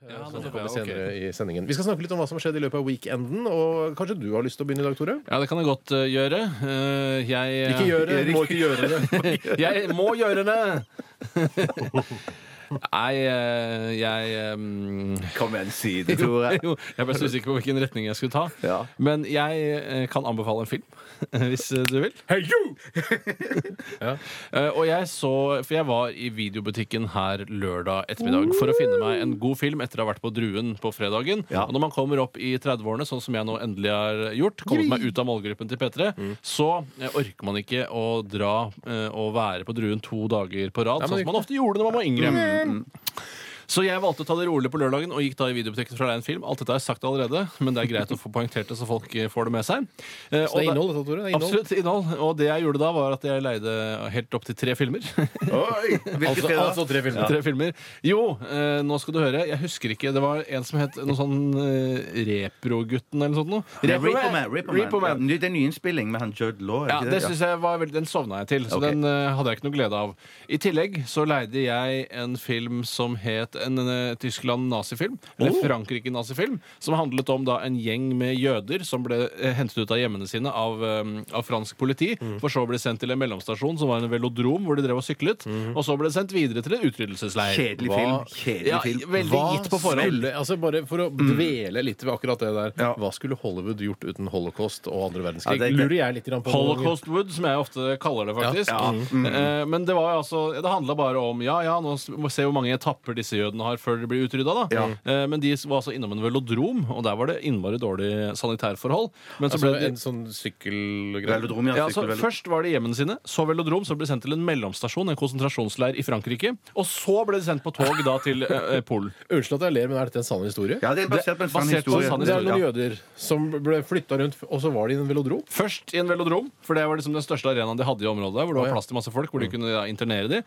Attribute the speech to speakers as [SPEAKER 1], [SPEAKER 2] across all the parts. [SPEAKER 1] Ja, nettopp,
[SPEAKER 2] Som sånn kommer
[SPEAKER 1] ja, ok.
[SPEAKER 2] senere i sendingen. Vi skal snakke litt om hva som har skjedd i løpet av weekenden. Og kanskje du har lyst til å begynne i dag, Tore?
[SPEAKER 1] Ja, det kan jeg godt eh, gjøre. Eh, jeg eh,
[SPEAKER 2] Ikke gjør det. Må ikke gjøre det.
[SPEAKER 1] jeg må gjøre det! Nei, eh, jeg eh, mm,
[SPEAKER 3] Kom igjen, si det,
[SPEAKER 1] jo,
[SPEAKER 3] Tore.
[SPEAKER 1] jo, jeg ble så usikker på hvilken retning jeg skulle ta.
[SPEAKER 3] Ja.
[SPEAKER 1] Men jeg eh, kan anbefale en film, hvis eh, du vil. Eh, Og jeg så For jeg var i videobutikken her lørdag ettermiddag for å finne meg en god film etter å ha vært på Druen på fredagen.
[SPEAKER 3] Ja.
[SPEAKER 1] Og når man kommer opp i 30-årene, sånn som jeg nå endelig har gjort, kommet meg ut av målgruppen til P3, så eh, orker man ikke å dra eh, og være på Druen to dager på rad,
[SPEAKER 2] men
[SPEAKER 1] sånn
[SPEAKER 2] det-
[SPEAKER 1] som man ofte gjorde når man var yngre. Så jeg valgte å ta det rolig på lørdagen og gikk da i videobutikken for å leie en film. Alt dette har jeg sagt allerede, men det er greit å få poengtert det, så folk eh, får det med seg. Eh,
[SPEAKER 2] Så det
[SPEAKER 1] og
[SPEAKER 2] er
[SPEAKER 1] da-
[SPEAKER 2] innhold, dette, Tore. Det er innhold.
[SPEAKER 1] Absolutt innhold. Og det jeg gjorde da, var at jeg leide helt opp til tre filmer.
[SPEAKER 3] Oi, hvilke
[SPEAKER 2] Altså,
[SPEAKER 3] tre da?
[SPEAKER 2] altså tre filmer.
[SPEAKER 1] tre filmer. Jo, eh, nå skal du høre. Jeg husker ikke. Det var en som het noe sånn eh, Reprogutten eller noe sånt. Noe.
[SPEAKER 3] Ja, Repo Man. Repo Man.
[SPEAKER 1] Repo Man.
[SPEAKER 3] Ja, det er en nyinnspilling med han Judd Law. er
[SPEAKER 1] Ja,
[SPEAKER 3] ikke
[SPEAKER 1] det
[SPEAKER 3] det?
[SPEAKER 1] synes jeg var veldig, Den sovna jeg til, så
[SPEAKER 3] Ok.
[SPEAKER 1] den eh, hadde jeg ikke noe glede av. I tillegg så leide jeg en film som het en, eh, Tyskland-nazifilm, eller
[SPEAKER 3] Oh.
[SPEAKER 1] Frankrike-nazifilm, som handlet om da en gjeng med jøder som ble eh, hentet ut av hjemmene sine av, eh, av fransk politi,
[SPEAKER 3] Mm.
[SPEAKER 1] for så ble de sendt til en mellomstasjon som var en velodrom hvor de drev og syklet, og så ble de sendt videre til en utryddelsesleir.
[SPEAKER 3] Mm. Kjedelig
[SPEAKER 2] Hva?
[SPEAKER 3] film. Kjedelig
[SPEAKER 1] Ja,
[SPEAKER 3] film.
[SPEAKER 1] veldig gitt på forhånd.
[SPEAKER 2] Skulle, altså bare for å dvele litt ved akkurat det der.
[SPEAKER 3] Ja.
[SPEAKER 2] Hva skulle Hollywood gjort uten holocaust og andre verdenskrig?
[SPEAKER 3] Ja, det er-
[SPEAKER 2] Lurer jeg litt grann på. noen ganger.
[SPEAKER 1] Holocaust Wood, som jeg ofte kaller det, faktisk.
[SPEAKER 3] Ja, Mm. ja.
[SPEAKER 1] Eh, Men det var jo altså Det handla bare om Ja, ja, nå s- må se hvor mange etapper disse jødene har før de blir utrydda, da.
[SPEAKER 3] Ja.
[SPEAKER 1] Eh, Men de var altså innom en velodrom, og der var det innmari dårlig sanitærforhold. Men så
[SPEAKER 2] Altså,
[SPEAKER 1] ble de
[SPEAKER 2] en sånn sykkelgreie.
[SPEAKER 3] Velodrom,
[SPEAKER 1] ja,
[SPEAKER 3] ja.
[SPEAKER 1] så
[SPEAKER 3] sykkelvelo-
[SPEAKER 1] Først var det hjemmene sine, så velodrom, så ble de sendt til en mellomstasjon, en konsentrasjonsleir i Frankrike. Og så ble de sendt på tog da til eh, eh, Polen.
[SPEAKER 2] Unnskyld at jeg ler, men er dette en sann historie?
[SPEAKER 3] Ja, det er basert på en sann
[SPEAKER 1] basert på en
[SPEAKER 3] historie.
[SPEAKER 1] sann
[SPEAKER 2] Det er noen
[SPEAKER 3] Ja.
[SPEAKER 2] jøder som ble flytta rundt, og så var de i en velodrom.
[SPEAKER 1] Først i en velodrom, for det var liksom den største arenaen de hadde i området. der, Hvor det var plass til masse folk,
[SPEAKER 3] Mm.
[SPEAKER 1] hvor de kunne ja, internere de.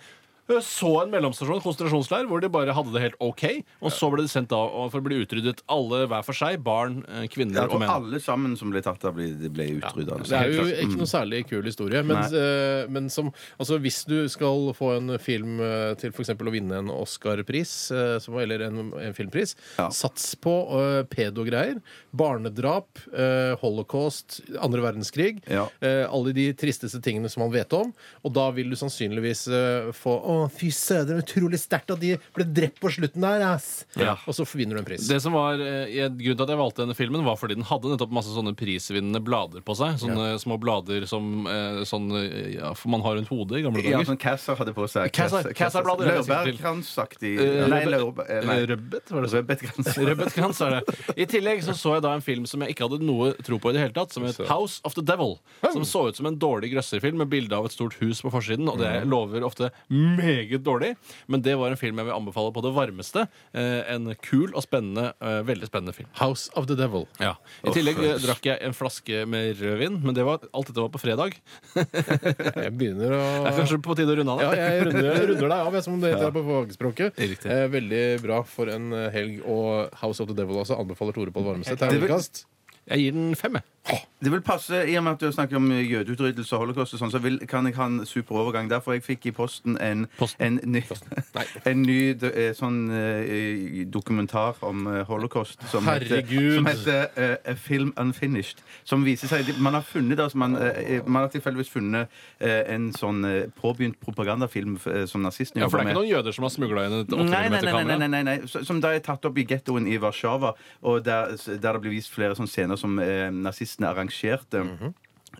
[SPEAKER 1] Eh, Så en mellomstasjon, konsentrasjonsleir, hvor de bare hadde det helt OK. Og så ble de sendt av og for å bli utryddet, alle hver for seg. Barn, eh,
[SPEAKER 3] Ja,
[SPEAKER 1] kvinner
[SPEAKER 3] jeg tror
[SPEAKER 1] og menn.
[SPEAKER 3] alle sammen som ble tatt av, ble, de ble utrydda.
[SPEAKER 1] Altså,
[SPEAKER 2] Det er jo ikke
[SPEAKER 1] Mm.
[SPEAKER 2] noe særlig kul historie, men,
[SPEAKER 3] Nei.
[SPEAKER 2] eh, men som, altså, hvis du skal få en film eh, til f.eks. å vinne en Oscar-pris, eh, som- eller en, en filmpris,
[SPEAKER 3] Ja.
[SPEAKER 2] sats på eh, pedogreier, barnedrap, eh, holocaust, andre verdenskrig,
[SPEAKER 3] Ja.
[SPEAKER 2] eh, alle de tristeste tingene som man vet om, og da vil du sannsynligvis eh, få Å, fy søder, utrolig sterkt at de ble drept på slutten der, ass!
[SPEAKER 1] Ja.
[SPEAKER 2] Og så vinner du en pris.
[SPEAKER 1] Det som var eh, jeg- Grunnen til at jeg valgte denne filmen, var fordi den hadde nettopp masse sånne prisvinnende blader på seg. Sånne små blader som eh, sånn, eh, ja, for man har rundt hodet i gamle
[SPEAKER 3] Ja,
[SPEAKER 1] dager.
[SPEAKER 3] sånn Casser hadde på seg.
[SPEAKER 1] Casser- Casserblader er det sikkert til.
[SPEAKER 3] Laurbærkransaktig.
[SPEAKER 1] Eh,
[SPEAKER 3] Nei,
[SPEAKER 1] rødbe-
[SPEAKER 3] laurbe- eh,
[SPEAKER 1] Eh,
[SPEAKER 3] nei.
[SPEAKER 1] Rødbet, var det så?
[SPEAKER 3] Rødbetkrans.
[SPEAKER 1] Rødbetkrans er det. I tillegg så, så jeg da en film som jeg ikke hadde noe tro på i det hele tatt, som het House of the Devil. Som så ut som en dårlig grøsserfilm med bilde av et stort hus på forsiden, og det
[SPEAKER 3] Mm.
[SPEAKER 1] lover ofte meget dårlig. Men det var en film jeg vil anbefale på det varmeste. Eh, en kul og spennende, eh, veldig spennende film.
[SPEAKER 2] House of the Devil.
[SPEAKER 1] Ja. I tillegg eh, drakk jeg en flaske med rødvin, men det var, alt dette var på fredag.
[SPEAKER 2] Jeg begynner å
[SPEAKER 1] Det er kanskje på tide å runde av
[SPEAKER 2] Ja,
[SPEAKER 1] det.
[SPEAKER 2] jeg runder, jeg runder deg av, jeg, som det heter her på fagspråket.
[SPEAKER 1] Riktig.
[SPEAKER 2] Eh, veldig bra for en eh, helg. Og House of the Devil også anbefaler Tore Pål Varmestad.
[SPEAKER 3] Det vil-
[SPEAKER 2] Terningkast.
[SPEAKER 1] Jeg gir den fem, jeg.
[SPEAKER 3] Det vil passe, I og med at du snakker om eh, jødeutryddelse og holocaust, og sånn, så vil, kan jeg ha en super overgang der. For jeg fikk i posten en,
[SPEAKER 1] Posten?
[SPEAKER 3] en ny,
[SPEAKER 2] Nei.
[SPEAKER 3] en ny do- eh, sånn eh, dokumentar om eh, holocaust som
[SPEAKER 2] Herregud.
[SPEAKER 3] heter, som heter eh, A Film Unfinished. Som viser seg Man har funnet det, altså man, eh, man har tilfeldigvis funnet eh, en sånn eh, påbegynt propagandafilm eh, som nazistene
[SPEAKER 1] Ja, for det er
[SPEAKER 3] jobber med.
[SPEAKER 1] ikke noen jøder som har smugla inn et 8
[SPEAKER 3] Nei, nei,
[SPEAKER 1] mm
[SPEAKER 3] nei, nei,
[SPEAKER 1] kamera?
[SPEAKER 3] nei, nei, nei. Så- Som da er tatt opp i gettoen i Warszawa, og der, der det blir vist flere sånne scener som eh, nazistene arrangerte.
[SPEAKER 1] Mhm.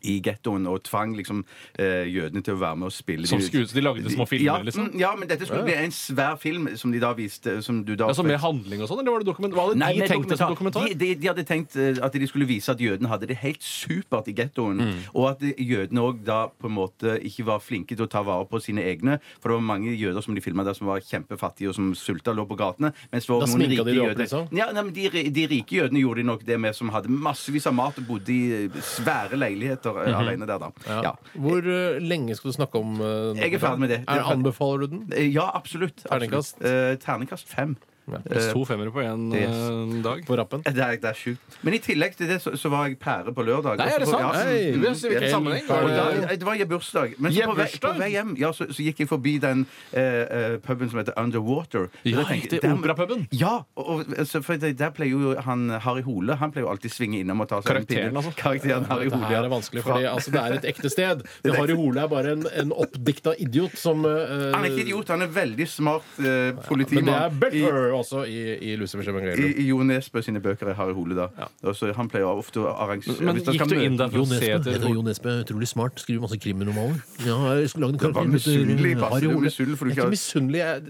[SPEAKER 3] I gettoen og tvang liksom eh, jødene til å være med og spille.
[SPEAKER 1] Som
[SPEAKER 3] De-
[SPEAKER 1] skues- de lagde små filmer,
[SPEAKER 3] ja,
[SPEAKER 1] liksom?
[SPEAKER 3] mm, Ja, men dette skulle bli en svær film som de da viste. Som du da
[SPEAKER 1] Altså med handling og sånn, eller var det dokumentar? Hva hadde
[SPEAKER 3] Nei,
[SPEAKER 1] de
[SPEAKER 3] men
[SPEAKER 1] tenkt som dokumentar?
[SPEAKER 2] sånn-
[SPEAKER 3] De, de, de hadde tenkt eh, at de skulle vise at jødene hadde det helt supert i gettoen.
[SPEAKER 2] Mm.
[SPEAKER 3] Og at de- jødene òg da på en måte ikke var flinke til å ta vare på sine egne. For det var mange jøder som de filma der som var kjempefattige og som sulta og lå på gatene. Mens det var
[SPEAKER 2] Da
[SPEAKER 3] noen
[SPEAKER 2] sminka
[SPEAKER 3] rike
[SPEAKER 2] de det opp,
[SPEAKER 3] jøder-
[SPEAKER 2] liksom?
[SPEAKER 3] Ja, nei, men de, ri- de rike jødene gjorde de nok det med, som hadde massevis av mat og bodde i eh, svære leiligheter
[SPEAKER 2] Mhm.
[SPEAKER 3] eh, alene der, da. Ja.
[SPEAKER 2] Hvor eh, lenge skal du snakke om eh,
[SPEAKER 3] Jeg er ferdig med det.
[SPEAKER 2] Er, anbefaler du den?
[SPEAKER 3] Eh, Ja, absolutt. absolutt.
[SPEAKER 2] Terningkast?
[SPEAKER 3] Eh, terningkast fem.
[SPEAKER 1] Pluss to femmere på én eh, dag.
[SPEAKER 2] på rappen.
[SPEAKER 3] Det er, det er sjukt. Men i tillegg til det så, så var jeg pære på lørdag.
[SPEAKER 1] Nei, er det
[SPEAKER 3] Også på-
[SPEAKER 1] sant?
[SPEAKER 3] Ja,
[SPEAKER 1] Hei, vi ser Mm. hvilken
[SPEAKER 3] Ja.
[SPEAKER 1] sammenheng.
[SPEAKER 3] Og
[SPEAKER 1] Var det-
[SPEAKER 3] da- Det var jeg bursdag. Men så på vei, på
[SPEAKER 1] Jebbursdag?
[SPEAKER 3] vei hjem ja, så, så gikk jeg forbi den eh, eh, puben som heter Underwater.
[SPEAKER 1] Ja,
[SPEAKER 3] Da tenkte
[SPEAKER 1] riktig,
[SPEAKER 3] jeg, der-
[SPEAKER 1] operapuben.
[SPEAKER 3] Ja, og, og, så for det- der pleier jo han Harry Hole Han pleier jo alltid svinge innom og ta seg en
[SPEAKER 1] Karakteren,
[SPEAKER 3] pinne.
[SPEAKER 1] altså.
[SPEAKER 3] Karakteren Harry
[SPEAKER 2] Det
[SPEAKER 3] Hole.
[SPEAKER 2] her er vanskelig, fordi altså, det er et ekte sted. Men Harry Hole er bare en, en oppdikta idiot som eh,
[SPEAKER 3] Han er ikke idiot, han er veldig smart eh,
[SPEAKER 2] Men det
[SPEAKER 3] politimann.
[SPEAKER 2] er Butler også i, i Lucifers
[SPEAKER 3] I,
[SPEAKER 2] evangelium.
[SPEAKER 3] i Jo Nesbø sine bøker er Harry Hole, da. Og så han pleier ofte å arrangere
[SPEAKER 1] Men
[SPEAKER 3] Hvis han
[SPEAKER 1] gikk
[SPEAKER 3] skal
[SPEAKER 1] du
[SPEAKER 3] møte-
[SPEAKER 1] inn der for å se etter
[SPEAKER 2] Jo Nesbø, utrolig smart. Skriver masse krimromaner. Ja, jeg skulle lagd en
[SPEAKER 3] var misunnelig, Basse. Du er misunnelig, for du
[SPEAKER 2] Jeg er
[SPEAKER 3] ikke har-
[SPEAKER 2] ikke misunnelig. Jeg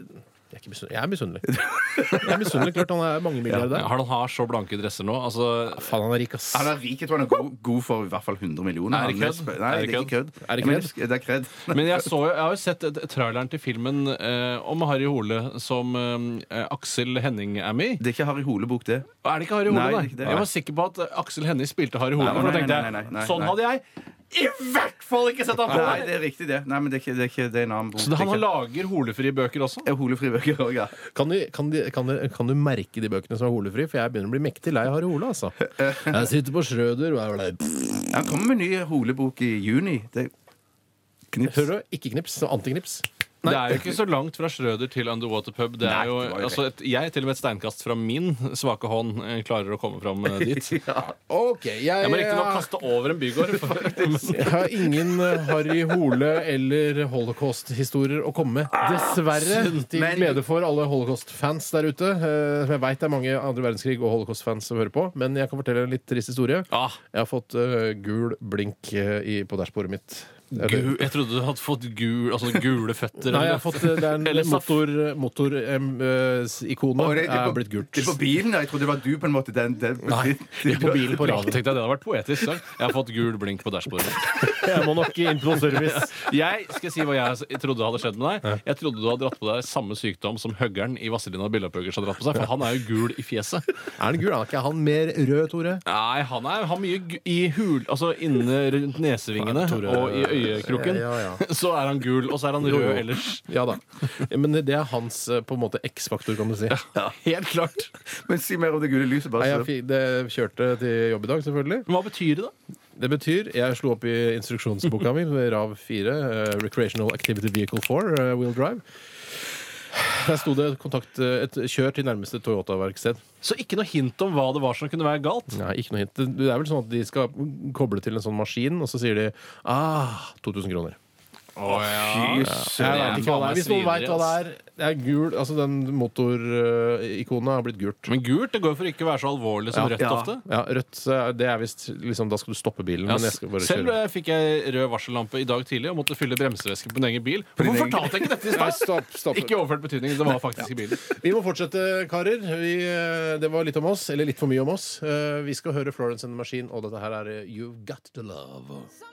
[SPEAKER 2] jeg er ikke misunnelig. Jeg er misunnelig. Jeg er misunnelig, klart han er mangemilliardær.
[SPEAKER 1] Har han har så blanke dresser nå? Altså,
[SPEAKER 2] Faen, han er rik, ass.
[SPEAKER 3] Han er rik, jeg tror han er god, god for i hvert fall 100 millioner.
[SPEAKER 1] Er det
[SPEAKER 3] Han
[SPEAKER 1] kødd?
[SPEAKER 3] sp- Nei,
[SPEAKER 1] Er det
[SPEAKER 3] det er ikke kødd.
[SPEAKER 2] Er det
[SPEAKER 3] Men
[SPEAKER 2] kødd?
[SPEAKER 3] Det er kødd.
[SPEAKER 1] men jeg, så, jo- jeg har jo sett et- traileren til filmen eh, om Harry Hole som eh, Aksel Henning er med i.
[SPEAKER 3] Det er ikke Harry Hole-bok, det.
[SPEAKER 1] Er det ikke Harry Hole,
[SPEAKER 3] Nei, det er
[SPEAKER 1] nei?
[SPEAKER 3] ikke det.
[SPEAKER 1] Jeg var sikker på at eh, Aksel Hennie spilte Harry Hole.
[SPEAKER 3] Nei, nei,
[SPEAKER 1] for da
[SPEAKER 3] nei,
[SPEAKER 1] tenkte jeg,
[SPEAKER 3] nei, nei, nei,
[SPEAKER 1] Sånn
[SPEAKER 3] nei.
[SPEAKER 1] hadde jeg i hvert fall ikke sett ham på!
[SPEAKER 3] Nei, det er riktig, det. Nei, men det er ikke det er, ikke, det er en annen bok.
[SPEAKER 1] Så han har
[SPEAKER 3] det er ikke-
[SPEAKER 1] lager holefrie bøker også?
[SPEAKER 3] er Hole Fribøker òg, ja.
[SPEAKER 2] Kan du, kan, de, kan, de, kan du merke de bøkene som er holefri? For jeg begynner å bli mektig lei Harry Hole, altså. Jeg sitter på Schrøder og jeg er bare-
[SPEAKER 3] Han kommer med en ny Hole-bok i juni. Det knips.
[SPEAKER 2] Hører du? Ikke knips, så antiknips.
[SPEAKER 1] Det er jo ikke så langt fra Schrøder til Underwater Pub. Det er
[SPEAKER 3] Nei,
[SPEAKER 1] jo,
[SPEAKER 3] det var jo
[SPEAKER 1] altså et, jeg, til og med et steinkast fra min svake hånd, eh, klarer å komme fram eh, dit.
[SPEAKER 2] OK, jeg,
[SPEAKER 1] Jeg må riktignok kaste over en bygård. for-
[SPEAKER 2] Jeg har ingen eh, Harry Hole eller holocaust-historier å komme med. Dessverre. Til
[SPEAKER 3] Ah, Men-
[SPEAKER 2] glede for alle holocaust-fans der ute. eh, Som jeg veit det er mange andre verdenskrig og holocaust-fans som hører på. Men jeg kan fortelle en litt trist historie.
[SPEAKER 1] Ah.
[SPEAKER 2] Jeg har fått eh, gul blink eh, i, på dashbordet mitt. Det er det.
[SPEAKER 1] Gu- Jeg trodde du hadde fått gul, altså gule føtter.
[SPEAKER 2] Nei, jeg
[SPEAKER 1] eller-
[SPEAKER 2] har fått, eh, det er
[SPEAKER 1] Eller
[SPEAKER 2] en
[SPEAKER 1] saft.
[SPEAKER 2] motor- motorikonet
[SPEAKER 3] Å, det- det er på-
[SPEAKER 2] er blitt gult.
[SPEAKER 3] Det er på bilen, da. Jeg trodde det var du, på en måte. Den, den,
[SPEAKER 2] Nei, det er på bilen på
[SPEAKER 1] Da
[SPEAKER 2] radioen.
[SPEAKER 1] tenkte jeg Det hadde vært poetisk. sant? Jeg har fått gul blink på dashbordet.
[SPEAKER 2] Jeg må nok inn på service.
[SPEAKER 1] Jeg skal si hva jeg trodde hadde skjedd med deg. Jeg trodde du hadde dratt på deg samme sykdom som høggeren i Vazelina Billapøgers har dratt på seg, for han er jo gul i fjeset.
[SPEAKER 2] Er den gul? Er ikke han mer rød, Tore?
[SPEAKER 1] Nei, han er har mye gu- i hul Altså inne rundt nesevingene
[SPEAKER 2] Nei, Tore-
[SPEAKER 1] og i øyekroken.
[SPEAKER 2] Ja, ja.
[SPEAKER 1] Så er han gul, og så er han
[SPEAKER 2] Jo, jo.
[SPEAKER 1] rød ellers.
[SPEAKER 2] Ja da. Men det er hans eh, på en måte X-faktor, kan du si.
[SPEAKER 1] Helt klart.
[SPEAKER 3] Men si mer om det gule lyset,
[SPEAKER 2] Nei,
[SPEAKER 3] bare.
[SPEAKER 2] jeg
[SPEAKER 3] så-
[SPEAKER 2] fikk, det kjørte til jobb i dag, selvfølgelig.
[SPEAKER 1] Men hva betyr det, da?
[SPEAKER 2] Det betyr Jeg slo opp i instruksjonsboka mi, RAV 4, eh, Recreational Activity Vehicle 4, eh, Wheel Drive. Der sto det kontakt, eh, et kjør til nærmeste Toyota-verksted.
[SPEAKER 1] Så ikke noe hint om hva det var som kunne være galt.
[SPEAKER 2] Nei, ikke noe hint. Det det er vel sånn at de skal koble til en sånn maskin, og så sier de ah, 2000 kroner.
[SPEAKER 1] Oh,
[SPEAKER 3] Fy søren.
[SPEAKER 1] Ja, ja.
[SPEAKER 2] Ikke hva det er. Hvis noen
[SPEAKER 1] Svineri,
[SPEAKER 2] veit hva det er Det er gul, altså den motorikonet har blitt gult.
[SPEAKER 1] Men gult det går jo for ikke å være så alvorlig som
[SPEAKER 2] Ja.
[SPEAKER 1] rødt
[SPEAKER 3] Ja.
[SPEAKER 1] ofte.
[SPEAKER 2] Ja, rødt eh, det er visst liksom, Da skal du stoppe bilen.
[SPEAKER 1] Ja,
[SPEAKER 2] men jeg skal bare
[SPEAKER 1] selv
[SPEAKER 2] kjøre.
[SPEAKER 1] eh, fikk jeg rød varsellampe i dag tidlig og måtte fylle bremsevæske på min egen bil.
[SPEAKER 3] din
[SPEAKER 1] Hvorfor
[SPEAKER 3] egen-
[SPEAKER 1] fortalte jeg ikke dette i
[SPEAKER 2] Nei,
[SPEAKER 1] stad?
[SPEAKER 2] stopp, stopp.
[SPEAKER 1] Ikke i overført betydning. Det var faktisk i bilen.
[SPEAKER 2] Vi må fortsette, karer. Vi, eh, det var litt om oss, eller litt for mye om oss. Eh, Vi skal høre Florence and the Machine, og dette her er eh, You've Got to Love.
[SPEAKER 4] Some